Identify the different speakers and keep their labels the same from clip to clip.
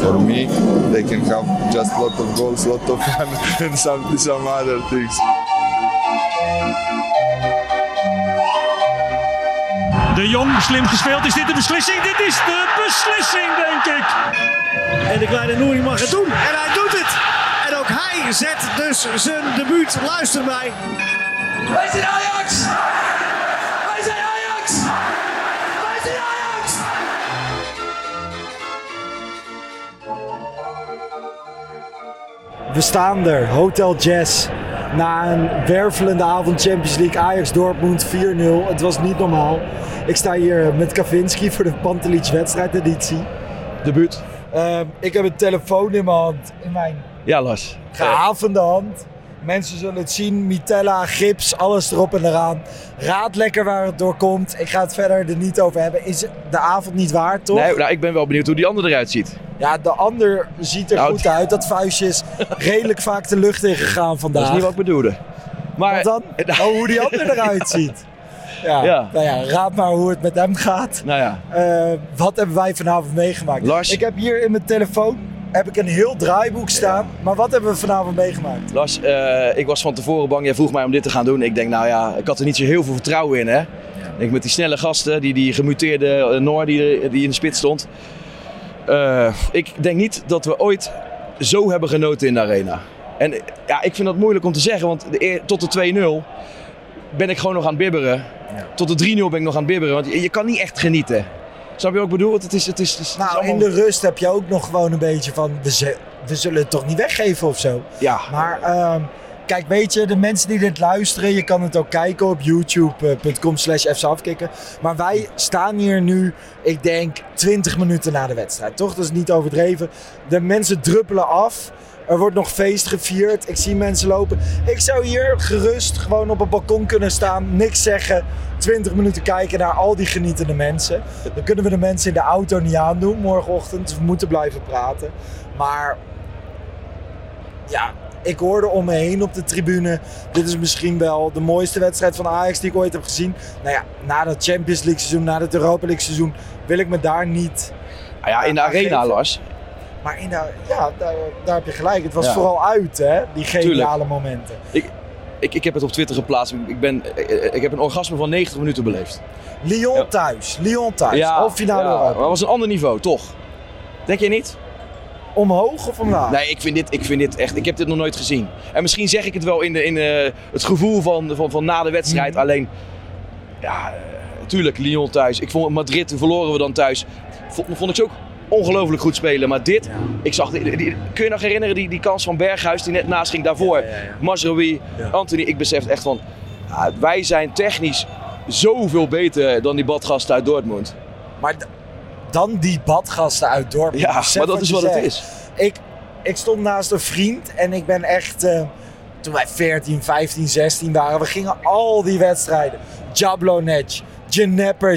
Speaker 1: For me, they can have just lot of goals, lot of fun, and some some other things.
Speaker 2: De Jong, slim gespeeld. Is dit de beslissing? Dit is de beslissing, denk ik. En de kleine Nouri mag het doen. En hij doet het. En ook hij zet dus zijn debuut. Luister mij.
Speaker 3: Wij zijn Ajax! Wij zijn Ajax! Wij zijn Ajax!
Speaker 4: We staan er, Hotel Jazz. Na een wervelende avond Champions League, Ajax Dortmund 4-0. Het was niet normaal. Ik sta hier met Kavinski voor de Pantelich wedstrijdeditie.
Speaker 5: Debuut.
Speaker 4: Ehm, ik heb een telefoon in mijn hand, in mijn
Speaker 5: Ja, Lars.
Speaker 4: gehavende hand. Mensen zullen het zien, Mitella, gips, alles erop en eraan. Raad lekker waar het door komt. Ik ga het verder er niet over hebben. Is de avond niet waard, toch?
Speaker 5: Nee, nou, ik ben wel benieuwd hoe die ander eruit ziet.
Speaker 4: Ja, de ander ziet er
Speaker 5: Nou,
Speaker 4: goed
Speaker 5: die-
Speaker 4: uit. Dat vuistje is redelijk vaak de lucht ingegaan vandaag.
Speaker 5: Dat is niet wat ik bedoelde. Maar
Speaker 4: Wat dan?
Speaker 5: Nou,
Speaker 4: Oh, hoe die ander eruit ziet. Ja,
Speaker 5: Ja.
Speaker 4: Nou ja, raad maar hoe het met hem gaat.
Speaker 5: nou ja,
Speaker 4: Eh, wat hebben wij vanavond meegemaakt?
Speaker 5: Lars.
Speaker 4: Ik heb hier in mijn telefoon heb ik een heel draaiboek staan. Maar wat hebben we vanavond meegemaakt?
Speaker 5: Lars, eh, ik was van tevoren bang. Jij vroeg mij om dit te gaan doen. Ik denk, nou ja, ik had er niet zo heel veel vertrouwen in, hè. Ik denk, met die snelle gasten, die, die gemuteerde eh, Noor die, die in de spits stond. Eh, ik denk niet dat we ooit zo hebben genoten in de arena. En eh, ja, ik vind dat moeilijk om te zeggen, want de eer- tot de 2-0 ben ik gewoon nog aan het bibberen. Tot de 3-0 ben ik nog aan het bibberen, want je, je kan niet echt genieten. Snap je wat ik bedoel? Want Het is, het is, het is, het is
Speaker 4: Nou, in
Speaker 5: allemaal-
Speaker 4: de rust heb je ook nog gewoon een beetje van... We, zu- we zullen het toch niet weggeven of zo?
Speaker 5: Ja,
Speaker 4: Maar ehm, kijk, weet je, de mensen die dit luisteren, je kan het ook kijken op youtube.com slash fcafkikken. Maar wij staan hier nu, ik denk, 20 minuten na de wedstrijd. Toch? Dat is niet overdreven. De mensen druppelen af. Er wordt nog feest gevierd. Ik zie mensen lopen. Ik zou hier gerust gewoon op een balkon kunnen staan, niks zeggen. 20 minuten kijken naar al die genietende mensen. Dan kunnen we de mensen in de auto niet aandoen morgenochtend. Dus we moeten blijven praten. Maar ja, ik hoorde om me heen op de tribune. Dit is misschien wel de mooiste wedstrijd van Ajax die ik ooit heb gezien. Nou ja, na dat Champions League seizoen, na dat Europa League seizoen, wil ik me daar niet.
Speaker 5: Ah ja, in de
Speaker 4: Ja,
Speaker 5: arena,
Speaker 4: geven.
Speaker 5: Lars.
Speaker 4: Maar in de, ja, daar, daar heb je gelijk. Het was
Speaker 5: Ja.
Speaker 4: vooral uit, hè? Die geniale
Speaker 5: Tuurlijk.
Speaker 4: momenten.
Speaker 5: Ik, ik heb het op Twitter geplaatst. Ik- Ik, ben, eh, ik, ik heb een orgasme van 90 minuten beleefd.
Speaker 4: Lyon
Speaker 5: Ja.
Speaker 4: thuis, Lyon thuis. Half finale
Speaker 5: ja,
Speaker 4: Europa.
Speaker 5: maar het was een ander niveau, toch? Denk jij niet?
Speaker 4: Omhoog of omlaag?
Speaker 5: Nee, ik vind, dit, ik vind dit echt... Ik heb dit nog nooit gezien. En misschien zeg ik het wel in, de, in eh, het gevoel van, van, van na de wedstrijd.
Speaker 4: Mhm.
Speaker 5: Alleen, ja, eh, tuurlijk, Lyon thuis. Ik vond Madrid, verloren we dan thuis. Vond, vond ik ze ook ongelooflijk goed spelen. Maar dit, ik zag... die- die- kun je nog herinneren die, die kans van Berghuis die net naast ging daarvoor?
Speaker 4: Ja, ja, ja.
Speaker 5: Masrowi, Anthony, ik besef echt van... ja, wij zijn technisch zoveel beter dan die badgasten uit Dortmund.
Speaker 4: Maar d- dan die badgasten uit Dortmund.
Speaker 5: Ja,
Speaker 4: Besef
Speaker 5: maar dat is
Speaker 4: je
Speaker 5: wat het
Speaker 4: zegt.
Speaker 5: is.
Speaker 4: Ik, ik stond naast een vriend en ik ben echt. eh, toen wij 14, 15, 16 waren, we gingen al die wedstrijden. Jablonec, Dnepr,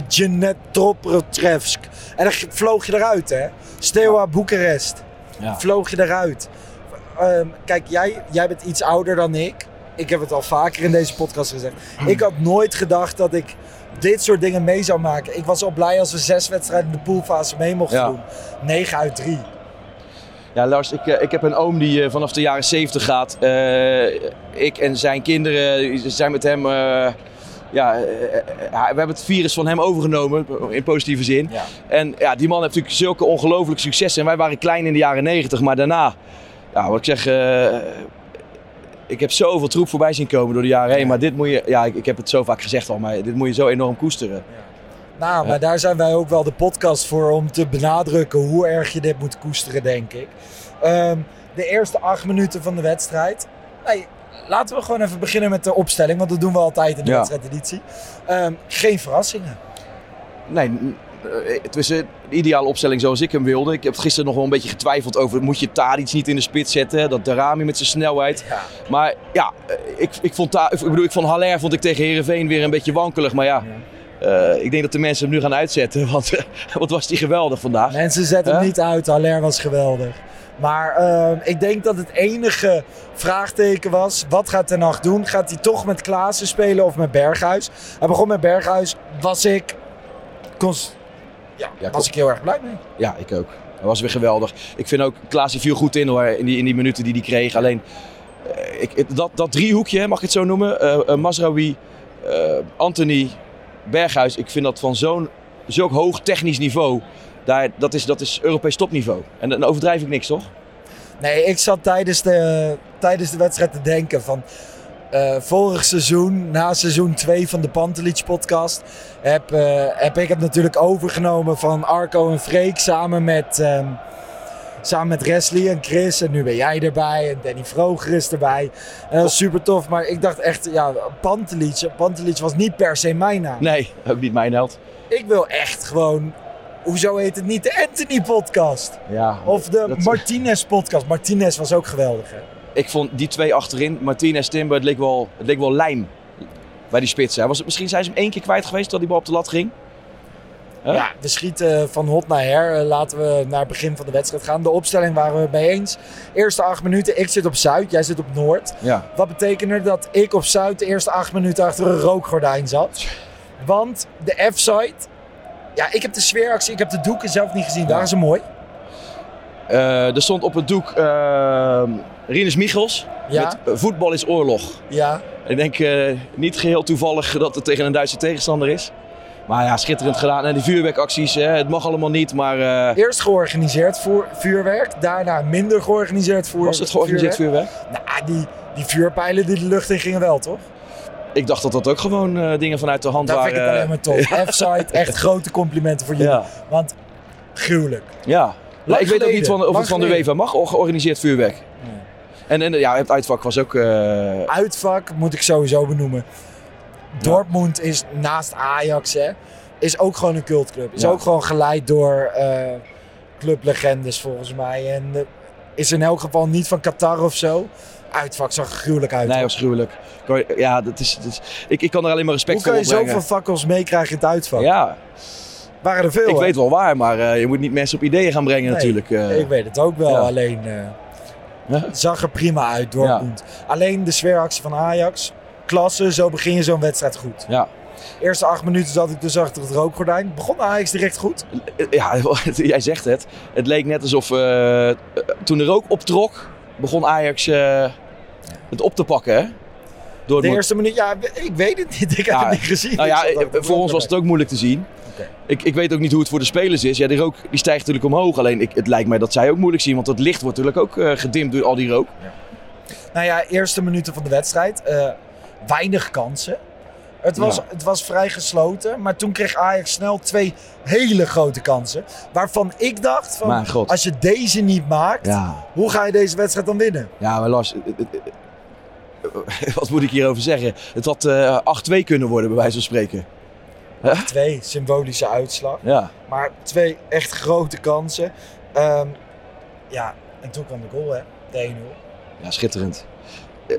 Speaker 4: Dnepropetrovsk. En dan g- vloog je eruit, hè? Steaua Boekarest.
Speaker 5: Ja.
Speaker 4: Vloog je eruit. Ehm, kijk, jij, jij bent iets ouder dan ik. Ik heb het al vaker in deze podcast gezegd.
Speaker 5: Hm.
Speaker 4: Ik had nooit gedacht dat ik dit soort dingen mee zou maken. Ik was al blij als we zes wedstrijden in de poolfase mee mochten
Speaker 5: Ja.
Speaker 4: doen. 9 uit 3.
Speaker 5: Ja, Lars, ik, eh, ik heb een oom die eh, vanaf de jaren 70 gaat. Eh, ik en zijn kinderen eh, zijn met hem. eh, ja, eh, eh, we hebben het virus van hem overgenomen, in positieve zin.
Speaker 4: Ja.
Speaker 5: En ja, die man heeft natuurlijk zulke ongelooflijke successen. En wij waren klein in de jaren 90, maar daarna, ja, wat ik zeg. eh, ik heb zoveel troep voorbij zien komen door de jaren heen. Maar dit moet je, ja, ik, ik heb het zo vaak gezegd al, maar dit moet je zo enorm koesteren.
Speaker 4: Nou, maar daar zijn wij ook wel de podcast voor om te benadrukken hoe erg je dit moet koesteren, denk ik. Ehm, de eerste acht minuten van de wedstrijd. Nee, laten we gewoon even beginnen met de opstelling, want dat doen we altijd in de
Speaker 5: Ja.
Speaker 4: wedstrijdeditie. Ehm, geen verrassingen.
Speaker 5: Nee, n- eh, tussen de ideale opstelling zoals ik hem wilde. Ik heb gisteren nog wel een beetje getwijfeld over, moet je Tadic niet in de spits zetten? Dat Darami met zijn snelheid. Maar ja, eh, ik, ik vond, Ta- ik bedoel, ik vond Haller vond ik tegen Herenveen weer een beetje wankelig. Maar ja, eh, ik denk dat de mensen hem nu gaan uitzetten. Want eh, wat was die geweldig vandaag.
Speaker 4: Mensen zetten hem
Speaker 5: Hè?
Speaker 4: niet uit. Haller was geweldig. Maar eh, ik denk dat het enige vraagteken was, wat gaat Ten Hag doen? Gaat hij toch met Klaassen spelen of met Berghuis? Hij begon met Berghuis, was ik... Cons- ja,
Speaker 5: Ja,
Speaker 4: was
Speaker 5: klopt.
Speaker 4: ik heel erg blij mee.
Speaker 5: Ja, ik ook. Dat was weer geweldig. Ik vind ook, Klaas die viel goed in hoor, in die, in die minuten die hij kreeg. Alleen, eh, ik, het- dat, dat driehoekje, hè, mag ik het zo noemen, eh eh, Mazraoui, eh, Anthony, Berghuis. Ik vind dat van zo'n zulk hoog technisch niveau, daar, dat, is, dat is Europees topniveau. En dan overdrijf ik niks, toch?
Speaker 4: Nee, ik zat tijdens de, tijdens de wedstrijd te denken van... eh, vorig seizoen, na seizoen 2 van de Pantelich podcast... Heb, eh, heb ik het natuurlijk overgenomen van Arco en Freek samen met... ehm, Samen met Wesley en Chris en nu ben jij erbij en Danny Vroger is erbij. En dat was super tof, maar ik dacht echt, ja, Pantelich, Pantelich was niet per se mijn naam.
Speaker 5: Nee, ook niet mijn held.
Speaker 4: Ik wil echt gewoon, hoezo heet het niet de Anthony podcast?
Speaker 5: Ja,
Speaker 4: Of de
Speaker 5: dat-
Speaker 4: Martinez podcast. Martinez was ook geweldig, hè?
Speaker 5: Ik vond die twee achterin, Martinez, Timber, het leek wel, het leek wel lijm bij die spitsen. Hij Was, misschien zijn ze hem één keer kwijt geweest terwijl die bal op de lat ging. Hè?
Speaker 4: Ja, we schieten van hot naar her. Eh, Laten we naar het begin van de wedstrijd gaan. De opstelling waren we mee eens. Eerste acht minuten, ik zit op Zuid, jij zit op Noord.
Speaker 5: ja.
Speaker 4: Wat betekende dat ik op Zuid de eerste acht minuten achter een rookgordijn zat. Want de F-site... Ja, ik heb de sfeeractie, ik heb de doeken zelf niet gezien. Daar is ze mooi.
Speaker 5: Eh, er stond op het doek eh Rinus Michels
Speaker 4: Ja.
Speaker 5: met eh, Voetbal is oorlog.
Speaker 4: Ja,
Speaker 5: Ik denk eh, niet geheel toevallig dat het tegen een Duitse tegenstander is. Maar ja, schitterend gedaan. En die vuurwerkacties, hè, het mag allemaal niet, maar eh,
Speaker 4: eerst georganiseerd voor vuurwerk. Daarna minder georganiseerd voor
Speaker 5: was het georganiseerd vuurwerk?
Speaker 4: Nou, die, die vuurpijlen die de lucht in gingen wel, toch?
Speaker 5: Ik dacht dat dat ook gewoon eh, dingen vanuit de hand
Speaker 4: Dat
Speaker 5: waren.
Speaker 4: vind ik het alleen maar tof. F-site, echt grote complimenten voor jullie.
Speaker 5: eh, Ja.
Speaker 4: Want gruwelijk.
Speaker 5: Ja. Nou, ik weet ook
Speaker 4: geleden.
Speaker 5: niet van, of
Speaker 4: Lang
Speaker 5: het van de
Speaker 4: geleden.
Speaker 5: UEFA mag, of georganiseerd vuurwerk. En, en ja, het uitvak was ook... eh,
Speaker 4: Uitvak moet ik sowieso benoemen. Dortmund is naast Ajax, hè, is ook gewoon een cultclub. Is
Speaker 5: Ja.
Speaker 4: ook gewoon geleid door eh, clublegendes volgens mij. En eh, is in elk geval niet van Qatar of zo. Uitvak zag er gruwelijk uit.
Speaker 5: nee,
Speaker 4: hoor.
Speaker 5: was gruwelijk. Kan je- Ja, dat is, dat is- ik, ik kan er alleen maar respect
Speaker 4: Hoe kan je
Speaker 5: voor opbrengen.
Speaker 4: zoveel fakkels meekrijgen in het uitvak?
Speaker 5: Ja,
Speaker 4: Waren er veel?
Speaker 5: Ik
Speaker 4: hè?
Speaker 5: weet wel waar, maar eh, je moet niet mensen op ideeën gaan brengen
Speaker 4: Nee,
Speaker 5: natuurlijk. eh.
Speaker 4: Ik weet het ook wel,
Speaker 5: Ja.
Speaker 4: alleen eh,
Speaker 5: Ja.
Speaker 4: het zag er prima uit, Dortmund. Alleen de sfeeractie van Ajax. Klasse, zo begin je zo'n wedstrijd goed.
Speaker 5: Ja,
Speaker 4: Eerste acht minuten zat ik dus achter het rookgordijn. Begon Ajax direct goed.
Speaker 5: Eh, ja jij zegt het. Het leek net alsof eh, eh, toen de rook optrok, begon Ajax eh, het op te pakken. Hè? Door
Speaker 4: De eerste minuut, ja, ik weet het niet. Ik heb
Speaker 5: Ja,
Speaker 4: het niet gezien.
Speaker 5: Nou
Speaker 4: Ik
Speaker 5: ja,
Speaker 4: zat achter
Speaker 5: eh, voor ons was het ook moeilijk te zien.
Speaker 4: Oké.
Speaker 5: Ik, ik weet ook niet hoe het voor de spelers is. Ja, die rook die stijgt natuurlijk omhoog. Alleen ik, het lijkt mij dat zij ook moeilijk zien, want het licht wordt natuurlijk ook eh, gedimd door al die rook.
Speaker 4: Nou ja, eerste minuten van de wedstrijd. eh, weinig kansen. Het was,
Speaker 5: Ja.
Speaker 4: het was vrij gesloten, maar toen kreeg Ajax snel twee hele grote kansen. Waarvan ik dacht, van,
Speaker 5: Mijn god.
Speaker 4: als je deze niet maakt,
Speaker 5: Ja,
Speaker 4: hoe ga je deze wedstrijd dan winnen?
Speaker 5: ja maar Lars, eh, eh, eh, wat moet ik hierover zeggen? Het had eh 8-2 kunnen worden, bij wijze van spreken.
Speaker 4: Twee symbolische uitslag,
Speaker 5: Ja.
Speaker 4: maar twee echt grote kansen. Ehm, ja, en toen kwam de goal, hè? De 1-0.
Speaker 5: Ja, schitterend.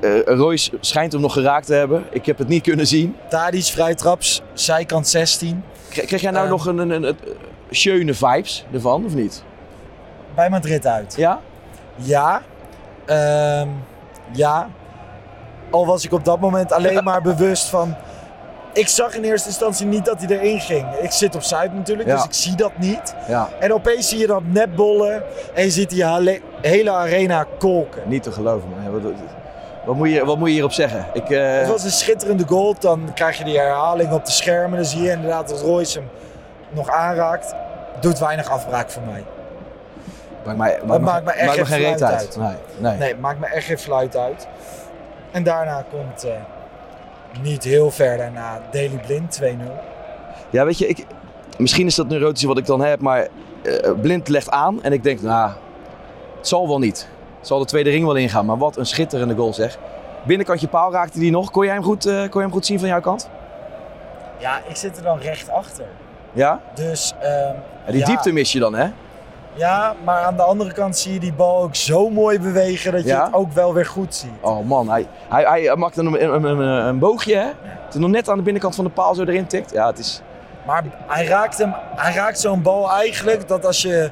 Speaker 5: Eh, eh, Royce schijnt hem nog geraakt te hebben. Ik heb het niet kunnen zien.
Speaker 4: Tadic, vrijtraps, zijkant 16.
Speaker 5: Kre- Kreeg jij nou
Speaker 4: Eh.
Speaker 5: nog een, een, een, een eh, schöne vibes ervan, of niet?
Speaker 4: Bij Madrid uit.
Speaker 5: Ja?
Speaker 4: Ja, ehm, ja. Al was ik op dat moment alleen maar bewust van. Ik zag in eerste instantie niet dat hij erin ging. Ik zit op Zuid natuurlijk,
Speaker 5: Ja.
Speaker 4: dus ik zie dat niet.
Speaker 5: Ja.
Speaker 4: En opeens zie je dat netbollen en je ziet die hale- hele arena kolken.
Speaker 5: Niet te geloven, man. Ja, Wat, wat, wat moet, je, wat moet je hierop zeggen? Ik, eh,
Speaker 4: Het was een schitterende goal. Dan krijg je die herhaling op de schermen. Dan zie je inderdaad dat Royce hem nog aanraakt. Doet weinig afbraak voor mij.
Speaker 5: maakt mij,
Speaker 4: maakt me echt geen
Speaker 5: geen reet
Speaker 4: fluit
Speaker 5: uit. Nee, nee.
Speaker 4: Nee, maakt me echt geen fluit uit. En daarna komt eh, niet heel ver daarna Daily Blind 2-0.
Speaker 5: Ja, weet je, ik, misschien is dat een neurotische wat ik dan heb, maar eh, Blind legt aan en ik denk, nou, het zal wel niet. Het zal de tweede ring wel ingaan, maar wat een schitterende goal zeg. Binnenkantje paal raakte die nog. Kon jij hem goed, eh, kon je hem goed zien van jouw kant?
Speaker 4: Ja, ik zit er dan recht achter.
Speaker 5: Ja?
Speaker 4: Dus, ehm,
Speaker 5: Ja, die
Speaker 4: ja.
Speaker 5: diepte mis je dan, hè?
Speaker 4: Ja, maar aan de andere kant zie je die bal ook zo mooi bewegen dat je
Speaker 5: Ja?
Speaker 4: het ook wel weer goed ziet.
Speaker 5: Oh man, hij, hij, hij maakt dan een, een, een, een boogje, hè? Toen nog net aan de binnenkant van de paal zo erin tikt. Ja, het is...
Speaker 4: Maar hij raakt, hem, hij raakt zo'n bal eigenlijk dat als je,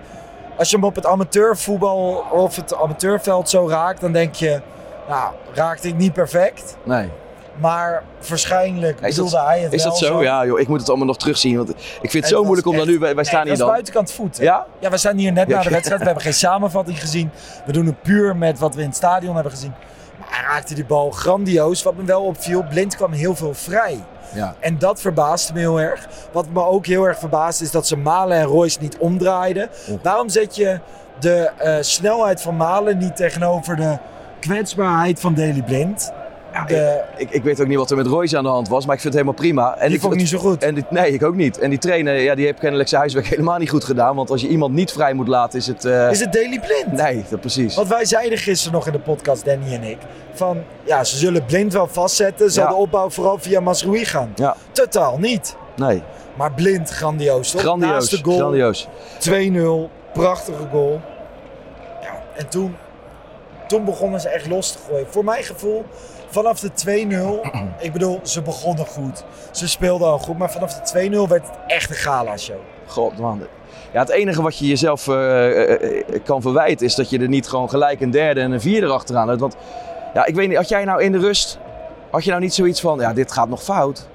Speaker 4: als je hem op het amateurvoetbal of het amateurveld zo raakt, dan denk je, nou, raakte ik niet perfect.
Speaker 5: Nee.
Speaker 4: Maar waarschijnlijk
Speaker 5: Is
Speaker 4: bedoelde
Speaker 5: dat,
Speaker 4: hij het
Speaker 5: is
Speaker 4: wel
Speaker 5: dat zo? Ja, joh, ik moet het allemaal nog terugzien. Want ik vind het zo moeilijk om dan nu... Wij, wij staan
Speaker 4: nee,
Speaker 5: hier
Speaker 4: dat is
Speaker 5: dan.
Speaker 4: buitenkant voet. hè?
Speaker 5: Ja?
Speaker 4: Ja, we staan hier net
Speaker 5: Ja.
Speaker 4: na de wedstrijd. We hebben geen samenvatting gezien. We doen het puur met wat we in het stadion hebben gezien. Maar hij raakte die bal grandioos. Wat me wel opviel, Blind kwam heel veel vrij.
Speaker 5: Ja.
Speaker 4: En dat verbaasde me heel erg. Wat me ook heel erg verbaasde is dat ze Malen en Royce niet omdraaiden. Waarom zet je de eh, snelheid van Malen niet tegenover de kwetsbaarheid van Daley Blind? De-
Speaker 5: Ik, ik weet ook niet wat er met Royce aan de hand was, maar ik vind het helemaal prima. En
Speaker 4: die vond ik niet zo goed.
Speaker 5: En die- nee, ik ook niet. En die trainer, ja, die heeft kennelijk zijn huiswerk helemaal niet goed gedaan. Want als je iemand niet vrij moet laten, is het... eh,
Speaker 4: is het Daley Blind?
Speaker 5: Nee, dat precies.
Speaker 4: Want wij zeiden gisteren nog in de podcast, Danny en ik, van ja, ze zullen blind wel vastzetten. Zal
Speaker 5: Ja.
Speaker 4: de opbouw vooral via Masroui gaan?
Speaker 5: Ja,
Speaker 4: Totaal niet.
Speaker 5: nee.
Speaker 4: Maar blind, grandioos. Toch? Naast
Speaker 5: Grandioos,
Speaker 4: de goal,
Speaker 5: grandioos.
Speaker 4: 2-0, prachtige goal. Ja, en toen, toen begonnen ze echt los te gooien. Voor mijn gevoel, vanaf de 2-0, ik bedoel, ze begonnen goed. Ze speelden al goed, maar vanaf de 2-0 werd het echt een gala-show.
Speaker 5: God, man. Ja, het enige wat je jezelf eh, eh, eh, kan verwijten is dat je er niet gewoon gelijk een derde en een vierde achteraan hebt. Want ja, ik weet niet, had jij nou in de rust, had je nou niet zoiets van, ja, dit gaat nog fout?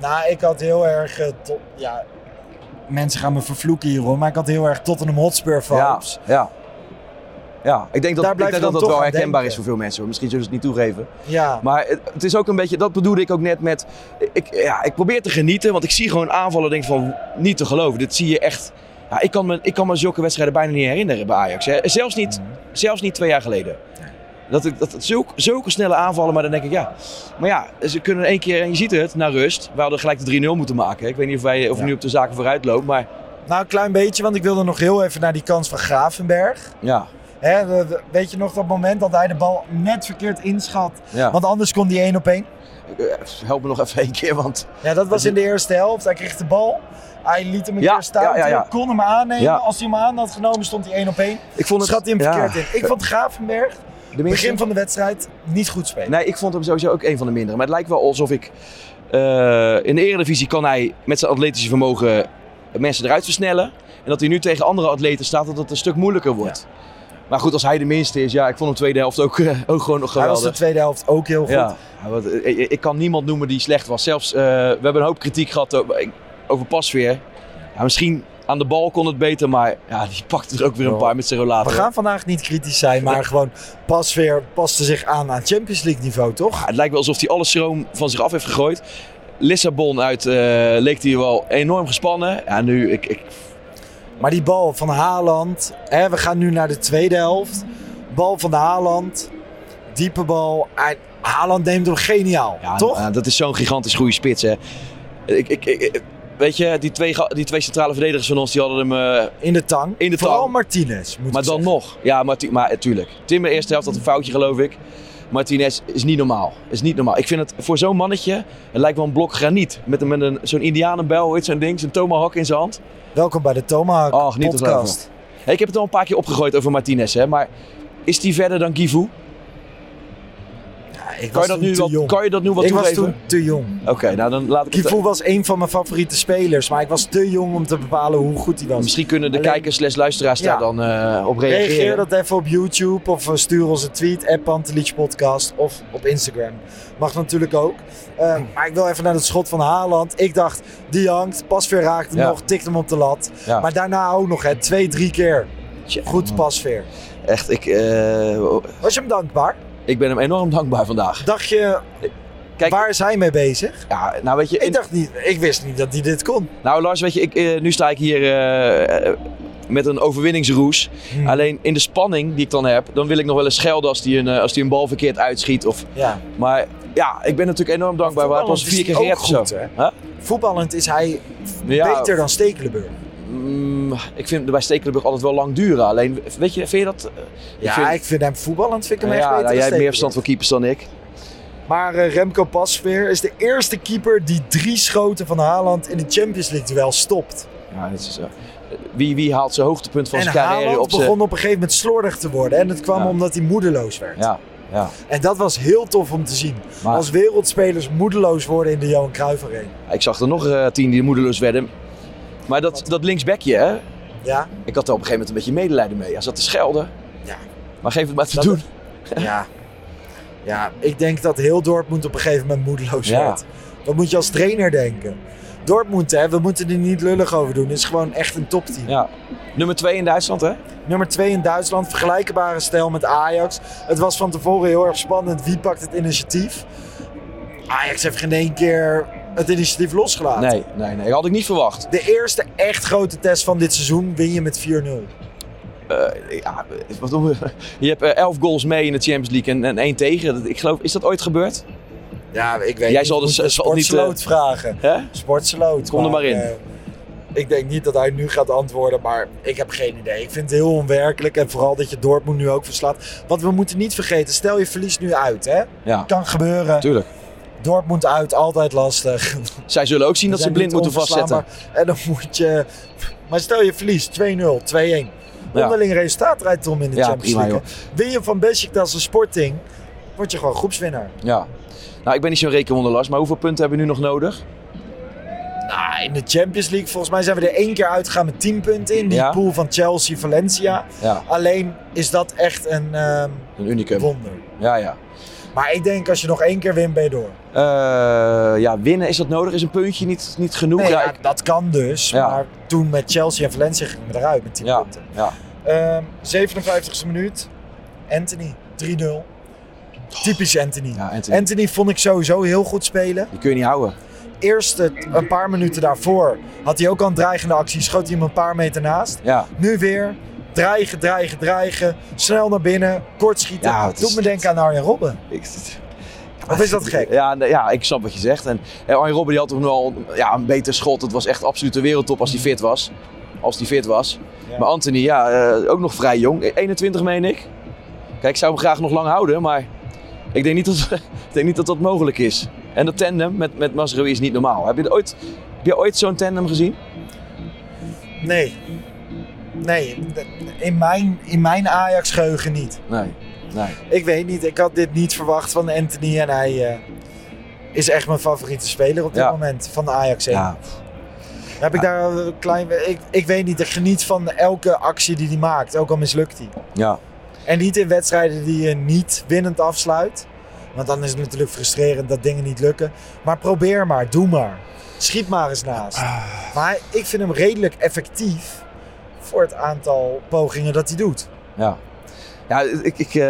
Speaker 4: Nou, ik had heel erg. eh, tot- ja, mensen gaan me vervloeken hierom, maar ik had heel erg Tottenham Hotspur
Speaker 5: Ja,
Speaker 4: vibes.
Speaker 5: ja. Ja, ik denk dat
Speaker 4: Daar
Speaker 5: ik
Speaker 4: blijf
Speaker 5: denk
Speaker 4: je
Speaker 5: dat,
Speaker 4: dan
Speaker 5: dat
Speaker 4: toch
Speaker 5: wel
Speaker 4: aan
Speaker 5: herkenbaar
Speaker 4: denken.
Speaker 5: is voor veel mensen. hoor. Misschien zullen ze het niet toegeven.
Speaker 4: Ja.
Speaker 5: Maar het, het is ook een beetje, dat bedoelde ik ook net met, ik, ja, ik probeer te genieten, want ik zie gewoon aanvallen en denk van, niet te geloven. Dit zie je echt, ja, ik, kan me, ik kan me zulke wedstrijden bijna niet herinneren bij Ajax. Hè. Zelfs, niet,
Speaker 4: Mhm.
Speaker 5: zelfs niet twee jaar geleden. Dat, ik, dat, het zulke, zulke snelle aanvallen, maar dan denk ik, ja. Maar ja, ze kunnen in één keer, en je ziet het, naar rust. We hadden gelijk de 3-0 moeten maken. hè. Ik weet niet of, wij, of
Speaker 4: Ja.
Speaker 5: nu op de zaken vooruit loopt, maar
Speaker 4: Nou, een klein beetje, want ik wilde nog heel even naar die kans van Gravenberg.
Speaker 5: ja.
Speaker 4: Hè, we- we- weet je nog dat moment dat hij de bal net verkeerd inschat?
Speaker 5: ja.
Speaker 4: Want anders kon die één op één.
Speaker 5: Eh, Help me nog even één keer, want
Speaker 4: Ja, dat was in de eerste helft. Hij kreeg de bal. Hij liet hem een
Speaker 5: Ja,
Speaker 4: keer staan.
Speaker 5: ja, ja, ja.
Speaker 4: Hij kon hem aannemen.
Speaker 5: Ja.
Speaker 4: Als hij hem aan had genomen, stond hij één op één.
Speaker 5: ik vond het...
Speaker 4: Schat hij hem
Speaker 5: ja,
Speaker 4: verkeerd in. Ik vond Gravenberg,
Speaker 5: de minste-
Speaker 4: begin van de wedstrijd, niet goed spelen.
Speaker 5: Nee, ik vond hem sowieso ook een van de mindere. Maar het lijkt wel alsof ik... eh, in de Eredivisie kan hij met zijn atletische vermogen mensen eruit versnellen. En dat hij nu tegen andere atleten staat, dat het een stuk moeilijker wordt. Maar goed, als hij de minste is, ja, ik vond hem tweede helft ook, eh, ook gewoon nog
Speaker 4: hij was
Speaker 5: geweldig.
Speaker 4: de tweede helft ook heel goed.
Speaker 5: ja, Ja, want, eh, ik, ik kan niemand noemen die slecht was. Zelfs, eh, we hebben een hoop kritiek gehad over, over Pasveer. Ja, misschien aan de bal kon het beter, maar ja, die pakte er ook weer een paar met zijn
Speaker 4: We
Speaker 5: rollator.
Speaker 4: gaan vandaag niet kritisch zijn, maar gewoon pas weer paste zich aan aan Champions League niveau, toch?
Speaker 5: Het lijkt wel alsof hij alle stroom van zich af heeft gegooid. Lissabon uit eh, leek hij wel enorm gespannen. Ja, nu, ik, ik,
Speaker 4: Maar die bal van Haaland, hè, we gaan nu naar de tweede helft. Bal van Haaland, diepe bal. Hij- Haaland neemt hem geniaal,
Speaker 5: ja,
Speaker 4: toch?
Speaker 5: nou, dat is zo'n gigantisch goede spits, hè. Ik, ik, ik- weet je, die twee, ga- die twee centrale verdedigers van ons, die hadden hem... eh,
Speaker 4: in de tang.
Speaker 5: In de
Speaker 4: Vooral
Speaker 5: tang.
Speaker 4: Martinez, moet
Speaker 5: maar
Speaker 4: ik
Speaker 5: dan
Speaker 4: zeggen.
Speaker 5: nog. Ja, maar, tu- maar eh, tuurlijk. Timmer eerste helft had een foutje, geloof ik. Martinez is niet normaal. Is niet normaal. Ik vind het voor zo'n mannetje, het lijkt wel een blok graniet. Met, een- met een, zo'n indianenbel, hoe heet zo'n ding? Zo'n tomahawk in zijn hand.
Speaker 4: Welkom bij de Tomahawk
Speaker 5: Oh, geniet er
Speaker 4: podcast.
Speaker 5: Hey, ik heb het al een paar keer opgegooid over Martinez, hè, maar is die verder dan Givu?
Speaker 4: Ja, ik
Speaker 5: Kan
Speaker 4: was
Speaker 5: je, dat
Speaker 4: toen
Speaker 5: nu
Speaker 4: te
Speaker 5: wat,
Speaker 4: jong.
Speaker 5: kan je dat nu wat
Speaker 4: ik was
Speaker 5: toegeven?
Speaker 4: toen te jong.
Speaker 5: Oké, nou dan laat ik het...
Speaker 4: Kivu was een van mijn favoriete spelers, maar ik was te jong om te bepalen hoe goed hij was.
Speaker 5: eh, Misschien kunnen de
Speaker 4: Alleen-
Speaker 5: kijkers slash luisteraars daar
Speaker 4: Ja.
Speaker 5: dan eh, op reageren.
Speaker 4: Reageer dat even op YouTube of eh, stuur ons een tweet, app Pantelich Podcast of op Instagram. Mag natuurlijk ook. Eh, maar ik wil even naar het schot van Haaland. Ik dacht, die hangt. Pasveer raakte hem
Speaker 5: Ja.
Speaker 4: nog, tikt hem op de lat.
Speaker 5: Ja.
Speaker 4: Maar daarna ook nog, hè, twee, drie keer.
Speaker 5: Tja,
Speaker 4: Goed pasveer.
Speaker 5: Echt, ik, eh, oh,
Speaker 4: Was je hem dankbaar?
Speaker 5: ik ben hem enorm dankbaar vandaag.
Speaker 4: Dacht je,
Speaker 5: Kijk,
Speaker 4: waar is hij mee bezig?
Speaker 5: ja, nou weet je... in-
Speaker 4: Ik dacht niet, ik wist niet dat hij dit kon.
Speaker 5: Nou Lars, weet je, ik, eh, nu sta ik hier eh, eh, met een overwinningsroes.
Speaker 4: Hmm.
Speaker 5: Alleen in de spanning die ik dan heb, dan wil ik nog wel eens schelden als die een, eh, als die een bal verkeerd uitschiet. Of,
Speaker 4: Ja.
Speaker 5: maar ja, ik ben natuurlijk enorm dankbaar. We hebben
Speaker 4: voetballend
Speaker 5: pas
Speaker 4: is
Speaker 5: vier keer
Speaker 4: hij
Speaker 5: gered
Speaker 4: ook
Speaker 5: of zo.
Speaker 4: goed, hè?
Speaker 5: Huh?
Speaker 4: Voetballend is hij
Speaker 5: Ja,
Speaker 4: beter dan Stekelenburg.
Speaker 5: Mm, ik vind het bij Stekelenburg altijd wel lang duren. Alleen, weet je, vind je dat... eh,
Speaker 4: Ja,
Speaker 5: vind-
Speaker 4: ik vind hem voetballend vind ik hem echt
Speaker 5: ja,
Speaker 4: beter
Speaker 5: nou,
Speaker 4: dan
Speaker 5: jij hebt meer
Speaker 4: Stekelenburg.
Speaker 5: verstand van keepers dan ik.
Speaker 4: Maar eh, Remco Pasveer is de eerste keeper die drie schoten van Haaland in de Champions League duel stopt.
Speaker 5: Ja, dat is, eh, wie, wie haalt zijn hoogtepunt van
Speaker 4: en
Speaker 5: zijn carrière
Speaker 4: Haaland
Speaker 5: op zijn...
Speaker 4: begon op een gegeven moment slordig te worden. En dat kwam
Speaker 5: Ja.
Speaker 4: omdat hij moedeloos werd.
Speaker 5: Ja, ja.
Speaker 4: En dat was heel tof om te zien.
Speaker 5: Maar-
Speaker 4: Als wereldspelers moedeloos worden in de Johan Cruijff Arena.
Speaker 5: Ik zag er nog eh, tien die moedeloos werden. Maar dat, dat linksbekje, hè?
Speaker 4: Ja?
Speaker 5: Ik had er op een gegeven moment een beetje medelijden mee. Hij zat te schelden.
Speaker 4: Ja.
Speaker 5: Maar geef het maar te
Speaker 4: Dat-
Speaker 5: doen.
Speaker 4: Ja. Ja, ik denk dat heel Dortmund op een gegeven moment moedeloos
Speaker 5: Ja.
Speaker 4: wordt. Wat moet je als trainer denken? Dortmund, hè, we moeten er niet lullig over doen. Het is gewoon echt een topteam.
Speaker 5: Ja. Nummer twee in Duitsland, hè?
Speaker 4: Nummer 2 in Duitsland, vergelijkbare stijl met Ajax. Het was van tevoren heel erg spannend. Wie pakt het initiatief? Ajax heeft geen één keer het initiatief losgelaten.
Speaker 5: Nee, nee, nee. Had ik niet verwacht.
Speaker 4: De eerste echt grote test van dit seizoen win je met 4-0.
Speaker 5: Eh, ja, wat doen we? Je hebt eh, elf goals mee in de Champions League en, en één tegen. Dat- Ik geloof, is dat ooit gebeurd?
Speaker 4: Ja, ik weet
Speaker 5: Jij zal dus-
Speaker 4: moet de
Speaker 5: zal niet, eh,
Speaker 4: sportsloot vragen.
Speaker 5: Hè?
Speaker 4: Sportsloot.
Speaker 5: Kom er maar in.
Speaker 4: eh, ik denk niet dat hij nu gaat antwoorden, maar ik heb geen idee. Ik vind het heel onwerkelijk en vooral dat je Dortmund nu ook verslaat. Want we moeten niet vergeten, stel je verliest nu uit, hè?
Speaker 5: Ja,
Speaker 4: Kan gebeuren.
Speaker 5: tuurlijk.
Speaker 4: Dortmund uit, altijd lastig.
Speaker 5: Zij zullen ook zien dat ze
Speaker 4: zijn
Speaker 5: blind
Speaker 4: niet
Speaker 5: moeten vastzetten.
Speaker 4: onverslaanbaar. En dan moet je... Maar stel je verliest 2-0, 2-1.
Speaker 5: Ja.
Speaker 4: Onderling resultaat rijdt om in de
Speaker 5: Ja,
Speaker 4: Champions
Speaker 5: prima,
Speaker 4: League. Win je van Besiktas een sporting, word je gewoon groepswinnaar.
Speaker 5: Ja. Nou, ik ben niet zo'n rekenwonderlast, maar hoeveel punten hebben we nu nog nodig?
Speaker 4: Nou, in de Champions League, volgens mij zijn we er één keer uitgegaan met 10 punten in. Die
Speaker 5: Ja.
Speaker 4: pool van Chelsea, Valencia.
Speaker 5: Ja,
Speaker 4: Alleen is dat echt een ehm,
Speaker 5: een unicum.
Speaker 4: wonder.
Speaker 5: Ja, ja.
Speaker 4: Maar ik denk als je nog één keer wint, ben je door.
Speaker 5: Eh, ja, winnen, is dat nodig? Is een puntje niet, niet genoeg?
Speaker 4: Nee,
Speaker 5: ja,
Speaker 4: ja,
Speaker 5: ik-
Speaker 4: dat kan dus.
Speaker 5: Ja.
Speaker 4: Maar toen met Chelsea en Valencia gingen we eruit met 10
Speaker 5: ja,
Speaker 4: punten.
Speaker 5: ja.
Speaker 4: Ehm 57e minuut. Anthony, 3-0. Typisch Anthony.
Speaker 5: Ja, Anthony.
Speaker 4: Anthony vond ik sowieso heel goed spelen.
Speaker 5: Die kun je niet houden.
Speaker 4: Eerst het- een paar minuten daarvoor had hij ook al een dreigende actie. Schoot hij hem een paar meter naast.
Speaker 5: Ja.
Speaker 4: Nu weer. Dreigen, dreigen, dreigen. Snel naar binnen. Kort schieten.
Speaker 5: Ja, het is-
Speaker 4: Doet me denken aan Arjen Robben.
Speaker 5: Ik,
Speaker 4: Of is dat gek?
Speaker 5: Ja, nee, ja, ik snap wat je zegt. En eh, Arjen Robben die had toen al ja, een beter schot. Het was echt absoluut de wereldtop als hij fit was. Als die fit was.
Speaker 4: Ja.
Speaker 5: Maar Anthony, ja, eh, ook nog vrij jong. 21 meen ik. Kijk, ik zou hem graag nog lang houden, maar ik denk niet dat ik denk niet dat, dat mogelijk is. En dat tandem met, met Masrui is niet normaal. Heb je er ooit, heb je ooit zo'n tandem gezien?
Speaker 4: Nee. Nee. In mijn, in mijn Ajax-geheugen niet.
Speaker 5: Nee. nee.
Speaker 4: Ik weet niet, ik had dit niet verwacht van Anthony en hij eh, is echt mijn favoriete speler op dit
Speaker 5: Ja.
Speaker 4: moment van de Ajax 1.
Speaker 5: Ja,
Speaker 4: Heb ik daar een klein, ik, ik weet niet, ik geniet van elke actie die hij maakt, ook al mislukt hij.
Speaker 5: ja.
Speaker 4: En niet in wedstrijden die je niet winnend afsluit, want dan is het natuurlijk frustrerend dat dingen niet lukken. Maar probeer maar, doe maar, schiet maar eens naast.
Speaker 5: Ah.
Speaker 4: Maar hij- ik vind hem redelijk effectief voor het aantal pogingen dat hij doet.
Speaker 5: ja. ja ik, ik, eh,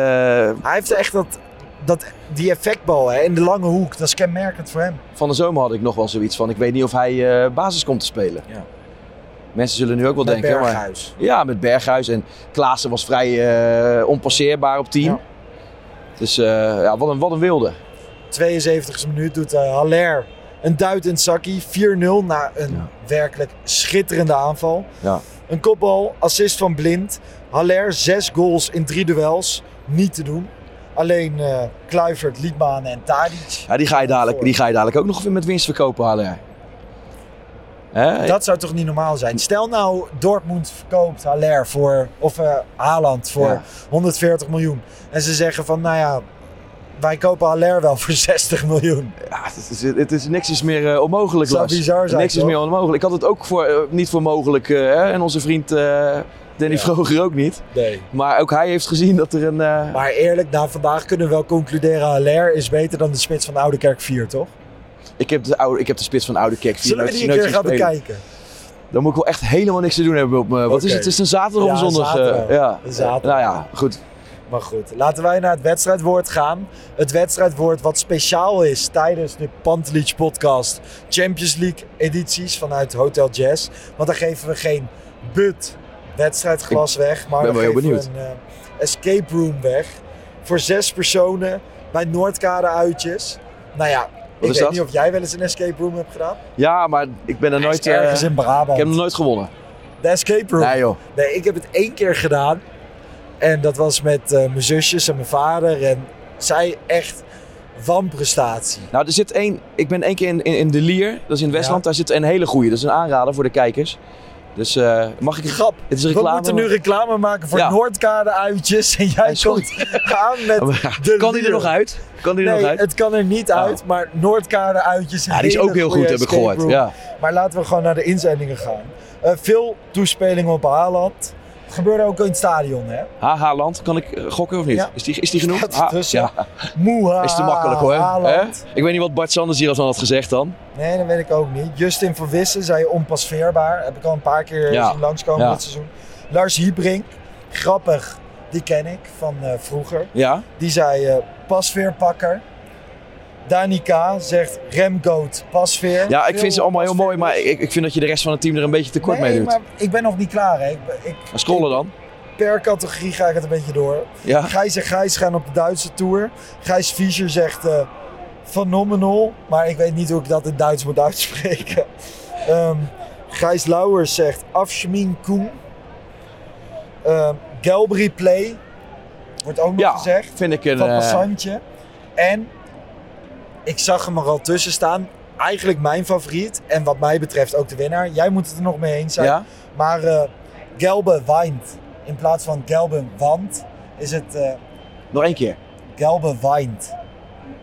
Speaker 4: Hij heeft echt dat, dat, die effectbal hè, in de lange hoek. Dat is kenmerkend voor hem.
Speaker 5: Van de zomer had ik nog wel zoiets van, ik weet niet of hij eh, basis komt te spelen.
Speaker 4: Ja.
Speaker 5: Mensen zullen nu ook wel
Speaker 4: Met
Speaker 5: denken, maar...
Speaker 4: Berghuis.
Speaker 5: Ja, met Berghuis. En Klaassen was vrij eh, onpasseerbaar op team.
Speaker 4: Ja.
Speaker 5: Dus eh, ja, wat, een, wat een wilde.
Speaker 4: 72e minuut doet eh, Haller een duit in het zakkie. 4-0 na een
Speaker 5: Ja.
Speaker 4: werkelijk schitterende aanval.
Speaker 5: Ja.
Speaker 4: Een kopbal, assist van Blind. Haller, zes goals in drie duels. Niet te doen. Alleen eh Kluivert, Liedman en Tadic.
Speaker 5: Ja, die, ga je dadelijk, die ga je dadelijk ook nog weer met winst verkopen, Haller. Hè?
Speaker 4: Dat zou toch niet normaal zijn? Stel nou, Dortmund verkoopt Haller voor, of eh Haaland voor
Speaker 5: Ja.
Speaker 4: 140 miljoen. En ze zeggen van, nou ja, wij kopen Haller wel voor 60 miljoen.
Speaker 5: Ja, het, is, het is niks is meer eh, onmogelijk,
Speaker 4: Zou
Speaker 5: Lars.
Speaker 4: bizar zijn,
Speaker 5: Niks is
Speaker 4: toch?
Speaker 5: meer onmogelijk. Ik had het ook voor, eh, niet voor mogelijk. eh, hè? en onze vriend eh Danny
Speaker 4: Ja.
Speaker 5: Vroger ook niet.
Speaker 4: Nee.
Speaker 5: Maar ook hij heeft gezien dat er een... eh,
Speaker 4: Maar eerlijk, na vandaag kunnen we wel concluderen, Haller is beter dan de spits van Oudekerk 4, toch?
Speaker 5: Ik heb de, oude, ik heb de spits van Oude Kek.
Speaker 4: Zullen we die een keer gaan bekijken?
Speaker 5: Dan moet ik wel echt helemaal niks te doen hebben. Op me. Wat is
Speaker 4: Oké.
Speaker 5: het? Het is een zaterdag of
Speaker 4: Ja,
Speaker 5: een zondag? eh,
Speaker 4: zaterdag.
Speaker 5: ja.
Speaker 4: Een zaterdag.
Speaker 5: Nou ja, goed.
Speaker 4: Maar goed, laten wij naar het wedstrijdwoord gaan. Het wedstrijdwoord wat speciaal is tijdens de Pantelich podcast Champions League edities vanuit Hotel Jazz. Want dan geven we geen but wedstrijdglas weg, maar
Speaker 5: ben
Speaker 4: dan
Speaker 5: wel heel
Speaker 4: geven
Speaker 5: benieuwd.
Speaker 4: we een eh, escape room weg. Voor zes personen bij Noordkade uitjes. Nou ja, ik
Speaker 5: is
Speaker 4: weet
Speaker 5: dat?
Speaker 4: niet of jij wel eens een escape room hebt gedaan.
Speaker 5: Ja, maar ik ben er nooit...
Speaker 4: Nooit ergens
Speaker 5: eh,
Speaker 4: in
Speaker 5: ik
Speaker 4: Brabant.
Speaker 5: heb nog nooit gewonnen.
Speaker 4: De escape room.
Speaker 5: Nee joh.
Speaker 4: Nee, ik heb het één keer gedaan. En dat was met eh, mijn zusjes en mijn vader. En zij echt wanprestatie.
Speaker 5: Nou, er zit één. Ik ben één keer in, in, in De Lier, dat is in Westland.
Speaker 4: Ja.
Speaker 5: Daar zit een hele goeie. Dat is een aanrader voor de kijkers. Dus eh, mag ik een
Speaker 4: Grap.
Speaker 5: Het is een
Speaker 4: We
Speaker 5: reclame.
Speaker 4: moeten nu reclame maken voor
Speaker 5: Ja.
Speaker 4: Noordkade uitjes. En jij
Speaker 5: is
Speaker 4: komt aan met de
Speaker 5: kan die
Speaker 4: Lier.
Speaker 5: er nog uit? Kan die er
Speaker 4: Nee,
Speaker 5: nog uit? Oh.
Speaker 4: het kan er niet uit, maar Noordkade uitjes.
Speaker 5: Ja, die is
Speaker 4: hele
Speaker 5: ook heel
Speaker 4: goede
Speaker 5: goed, heb ik
Speaker 4: escape
Speaker 5: gehoord.
Speaker 4: room.
Speaker 5: Ja.
Speaker 4: Maar laten we gewoon naar de inzendingen gaan. Eh, veel toespelingen op Haaland. Het gebeurde ook in het stadion, hè?
Speaker 5: HH Land, kan ik eh, gokken of niet?
Speaker 4: Ja.
Speaker 5: Is, die, is die genoeg?
Speaker 4: Staat
Speaker 5: Ha-
Speaker 4: ertussen.
Speaker 5: Ah, ja,
Speaker 4: Moeha,
Speaker 5: is te makkelijk hoor. Hè?
Speaker 4: Ah, Haaland.
Speaker 5: Ik weet niet wat Bart Sanders hier al van had gezegd dan.
Speaker 4: Nee, dat weet ik ook niet. Justin van Wissen zei onpasveerbaar. Heb ik al een paar keer
Speaker 5: Ja.
Speaker 4: zien langskomen
Speaker 5: Ja.
Speaker 4: dit seizoen. Lars Hiebrink, grappig, die ken ik van eh, vroeger.
Speaker 5: Ja,
Speaker 4: Die zei eh, pasveerpakker. Dani K. zegt remgoat pasveer.
Speaker 5: ja ik
Speaker 4: Veel
Speaker 5: vind ze allemaal heel mooi, maar
Speaker 4: pasveerders.
Speaker 5: ik, ik vind dat je de rest van het team er een beetje tekort
Speaker 4: nee,
Speaker 5: mee doet.
Speaker 4: maar ik ben nog niet klaar. Hè. Ik, ik,
Speaker 5: Maar Scrollen dan.
Speaker 4: per categorie ga ik het een beetje door.
Speaker 5: Ja.
Speaker 4: Gijs en Gijs gaan op de Duitse tour. Gijs Fischer zegt eh phenomenal, maar ik weet niet hoe ik dat in Duits moet uitspreken. Ehm, Gijs Lauwers zegt afschmin koen. Ehm Galbri play wordt ook nog
Speaker 5: Ja,
Speaker 4: gezegd
Speaker 5: vind ik een...
Speaker 4: van
Speaker 5: eh,
Speaker 4: Passantje. En ik zag hem er al tussen staan. Eigenlijk mijn favoriet en wat mij betreft ook de winnaar. Jij moet het er nog mee eens zijn.
Speaker 5: ja?
Speaker 4: Maar eh, Gelbe wijnt. In plaats van Gelbe want, is het eh
Speaker 5: Nog één keer.
Speaker 4: Gelbe wijnt.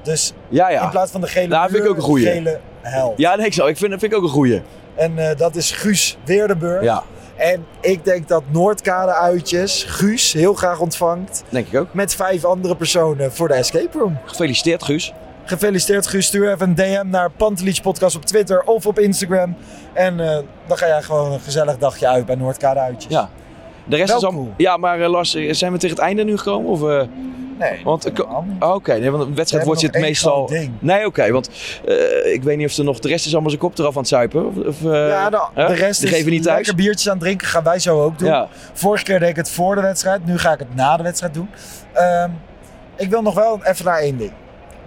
Speaker 4: Dus
Speaker 5: Ja,
Speaker 4: in
Speaker 5: ja.
Speaker 4: plaats van de gele
Speaker 5: Nou, vind ik
Speaker 4: muur,
Speaker 5: ook een goeie.
Speaker 4: de gele hel.
Speaker 5: Ja, nee, ik, zou, ik vind, vind ik ook een goeie.
Speaker 4: En eh, dat is Guus Weerdenburg.
Speaker 5: Ja,
Speaker 4: En ik denk dat Noordkade uitjes Guus heel graag ontvangt.
Speaker 5: denk ik ook.
Speaker 4: Met vijf andere personen voor de escape room.
Speaker 5: Gefeliciteerd, Guus.
Speaker 4: Gefeliciteerd Guus, stuur even een DM naar Pantelich Podcast op Twitter of op Instagram. En eh, dan ga jij gewoon een gezellig dagje uit bij Noordkade uitjes.
Speaker 5: Ja. De rest
Speaker 4: Wel
Speaker 5: is al...
Speaker 4: cool.
Speaker 5: Ja, maar eh, Lars, eh, zijn we tegen het einde nu gekomen? Of, eh,
Speaker 4: Nee,
Speaker 5: want, eh,
Speaker 4: helemaal niet.
Speaker 5: oh, Oké, nee, want een wedstrijd
Speaker 4: We
Speaker 5: wordt
Speaker 4: hebben
Speaker 5: zit
Speaker 4: nog één
Speaker 5: meestal...
Speaker 4: groot ding.
Speaker 5: Nee, oké, want eh, ik weet niet of er nog... De rest is allemaal zijn kop eraf aan het zuipen. Of, of, eh,
Speaker 4: Ja, de,
Speaker 5: hè?
Speaker 4: de rest
Speaker 5: Die
Speaker 4: is
Speaker 5: geven niet thuis.
Speaker 4: lekker biertjes aan het drinken. Gaan wij zo ook doen.
Speaker 5: Ja.
Speaker 4: Vorige keer deed ik het voor de wedstrijd. Nu ga ik het na de wedstrijd doen. Ehm, ik wil nog wel even naar één ding.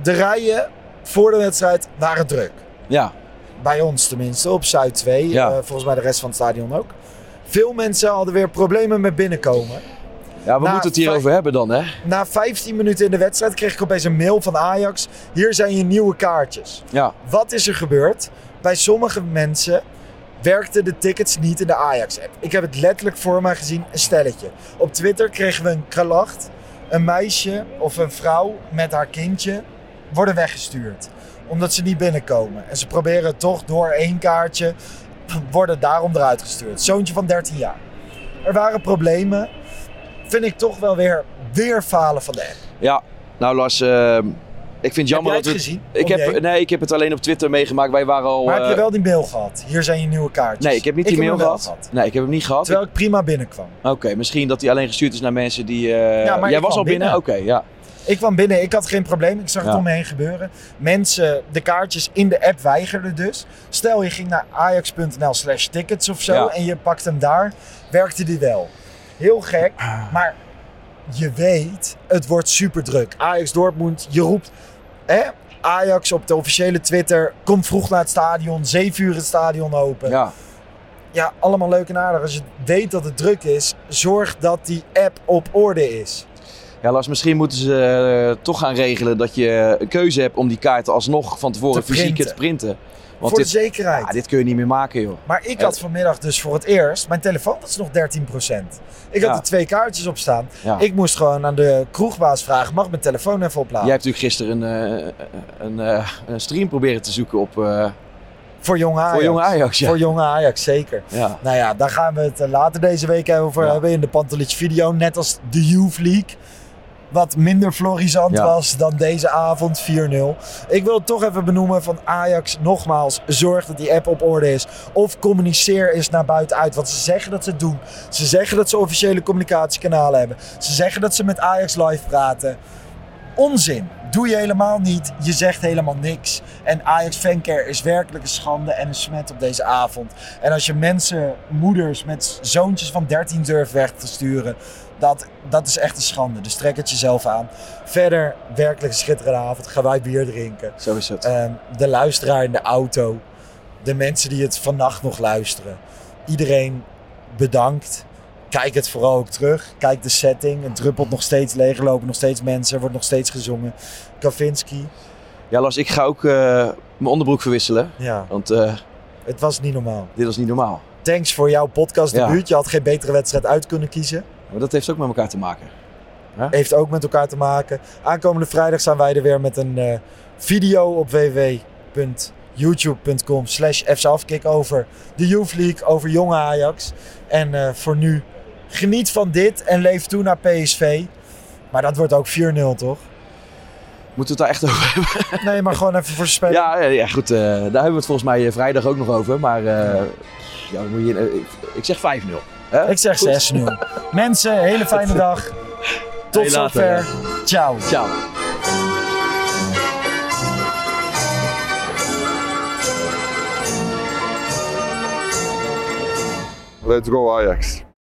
Speaker 4: De rijen voor de wedstrijd waren druk.
Speaker 5: ja,
Speaker 4: Bij ons tenminste, op Zuid 2.
Speaker 5: Ja.
Speaker 4: Eh, volgens mij de rest van het stadion ook. Veel mensen hadden weer problemen met binnenkomen.
Speaker 5: ja, we
Speaker 4: Nou,
Speaker 5: moeten het hierover
Speaker 4: fijn.
Speaker 5: hebben dan, hè?
Speaker 4: Na 15 minuten in de wedstrijd kreeg ik opeens een mail van Ajax. Hier zijn je nieuwe kaartjes.
Speaker 5: Ja,
Speaker 4: Wat is er gebeurd? Bij sommige mensen werkten de tickets niet in de Ajax-app. Ik heb het letterlijk voor mij gezien, een stelletje. Op Twitter kregen we een klacht. Een meisje of een vrouw met haar kindje worden weggestuurd. Omdat ze niet binnenkomen. En ze proberen toch door één kaartje, worden daarom eruit gestuurd. Zoontje van 13 jaar. Er waren problemen. Vind ik toch wel weer, weer falen van de app.
Speaker 5: ja. Nou, Lars, eh, ik vind het jammer
Speaker 4: jij
Speaker 5: dat
Speaker 4: het
Speaker 5: we...
Speaker 4: gezien?
Speaker 5: Ik
Speaker 4: Om je
Speaker 5: heb,
Speaker 4: heen?
Speaker 5: nee, ik heb het alleen op Twitter meegemaakt. Wij waren al...
Speaker 4: Maar heb je
Speaker 5: eh,
Speaker 4: wel die mail gehad? Hier zijn je nieuwe kaartjes.
Speaker 5: Nee, ik heb niet die mail
Speaker 4: hem wel
Speaker 5: gehad. Nee, ik heb hem niet gehad.
Speaker 4: Terwijl ik prima binnenkwam.
Speaker 5: Oké, misschien dat hij alleen gestuurd is naar mensen die... eh,
Speaker 4: Ja, maar
Speaker 5: Jij
Speaker 4: ik
Speaker 5: was
Speaker 4: kwam
Speaker 5: al binnen? Oké, ja.
Speaker 4: Ik kwam binnen, ik had geen probleem. Ik zag het
Speaker 5: Ja.
Speaker 4: om me heen gebeuren. Mensen de kaartjes in de app weigerden dus. Stel je ging naar ajax.nl slash tickets of zo
Speaker 5: Ja.
Speaker 4: en je pakt hem daar, werkte die wel. Heel gek, maar je weet, het wordt super druk. Ajax Dortmund, je roept hè, Ajax op de officiële Twitter, kom vroeg naar het stadion, 7 uur het stadion open.
Speaker 5: Ja,
Speaker 4: ja, allemaal leuk en aardig. Als je weet dat het druk is, zorg dat die app op orde is.
Speaker 5: ja Lars, misschien moeten ze eh, toch gaan regelen dat je een keuze hebt om die kaarten alsnog van tevoren
Speaker 4: Te
Speaker 5: fysiek
Speaker 4: printen.
Speaker 5: te printen. Want
Speaker 4: voor
Speaker 5: dit,
Speaker 4: de zekerheid.
Speaker 5: ja, dit Eh. kun je niet meer maken, joh.
Speaker 4: Maar ik had vanmiddag dus voor het eerst, mijn telefoon was nog 13%. Ik had
Speaker 5: Ja.
Speaker 4: er twee kaartjes op staan.
Speaker 5: Ja.
Speaker 4: Ik moest gewoon aan de kroegbaas vragen, mag ik mijn telefoon even opladen?
Speaker 5: Jij hebt natuurlijk gisteren een, eh, een, eh, een stream proberen te zoeken op, eh,
Speaker 4: Voor jong Ajax.
Speaker 5: voor Jong Ajax. Ja.
Speaker 4: Voor jonge Ajax, zeker.
Speaker 5: Ja.
Speaker 4: Nou ja, daar gaan we het eh, later deze week over
Speaker 5: Ja.
Speaker 4: hebben in de Pantelich video. Net als de Youth League. Wat minder florisant
Speaker 5: Ja.
Speaker 4: was dan deze avond 4-0. Ik wil het toch even benoemen van Ajax. Nogmaals, zorg dat die app op orde is. Of communiceer eens naar buiten uit. Want ze zeggen dat ze het doen. Ze zeggen dat ze officiële communicatiekanalen hebben. Ze zeggen dat ze met Ajax live praten. Onzin. Doe je helemaal niet. Je zegt helemaal niks. En Ajax Fancare is werkelijk een schande en een smet op deze avond. En als je mensen, moeders met zoontjes van 13 durft weg te sturen, dat, dat is echt een schande. Dus trek het jezelf aan. Verder, werkelijk een schitterende avond. Ga wij bier drinken.
Speaker 5: Zo is het.
Speaker 4: Ehm, de luisteraar in de auto. De mensen die het vannacht nog luisteren. Iedereen bedankt. Kijk het vooral ook terug. Kijk de setting. Het druppelt nog steeds leeg. Er lopen nog steeds mensen. Er wordt nog steeds gezongen. Kavinsky.
Speaker 5: Ja, Lars, ik ga ook eh, mijn onderbroek verwisselen.
Speaker 4: Ja,
Speaker 5: Want eh,
Speaker 4: het was niet normaal.
Speaker 5: dit was niet normaal.
Speaker 4: Thanks voor jouw podcast
Speaker 5: Ja.
Speaker 4: debuut. Je had geen betere wedstrijd uit kunnen kiezen.
Speaker 5: Maar dat heeft ook met elkaar te maken.
Speaker 4: Heeft ook met elkaar te maken. Aankomende vrijdag zijn wij er weer met een eh, video op www.youtube.com slash FC Afkick over de Youth League, over jonge Ajax. En eh, voor nu, geniet van dit en leef toe naar PSV. Maar dat wordt ook 4-0, toch?
Speaker 5: Moeten we het daar echt over hebben?
Speaker 4: Nee, maar gewoon even voor spelen.
Speaker 5: Ja, ja, ja, goed. eh, daar hebben we het volgens mij eh, vrijdag ook nog over. Maar eh, ja, dan moet je, eh, ik, ik zeg 5-0. hè?
Speaker 4: Ik zeg
Speaker 5: Goed.
Speaker 4: 6-0. Mensen, hele fijne dag. Tot
Speaker 5: Hey, later.
Speaker 4: zover. Ciao.
Speaker 5: Ciao.
Speaker 1: Let's go Ajax.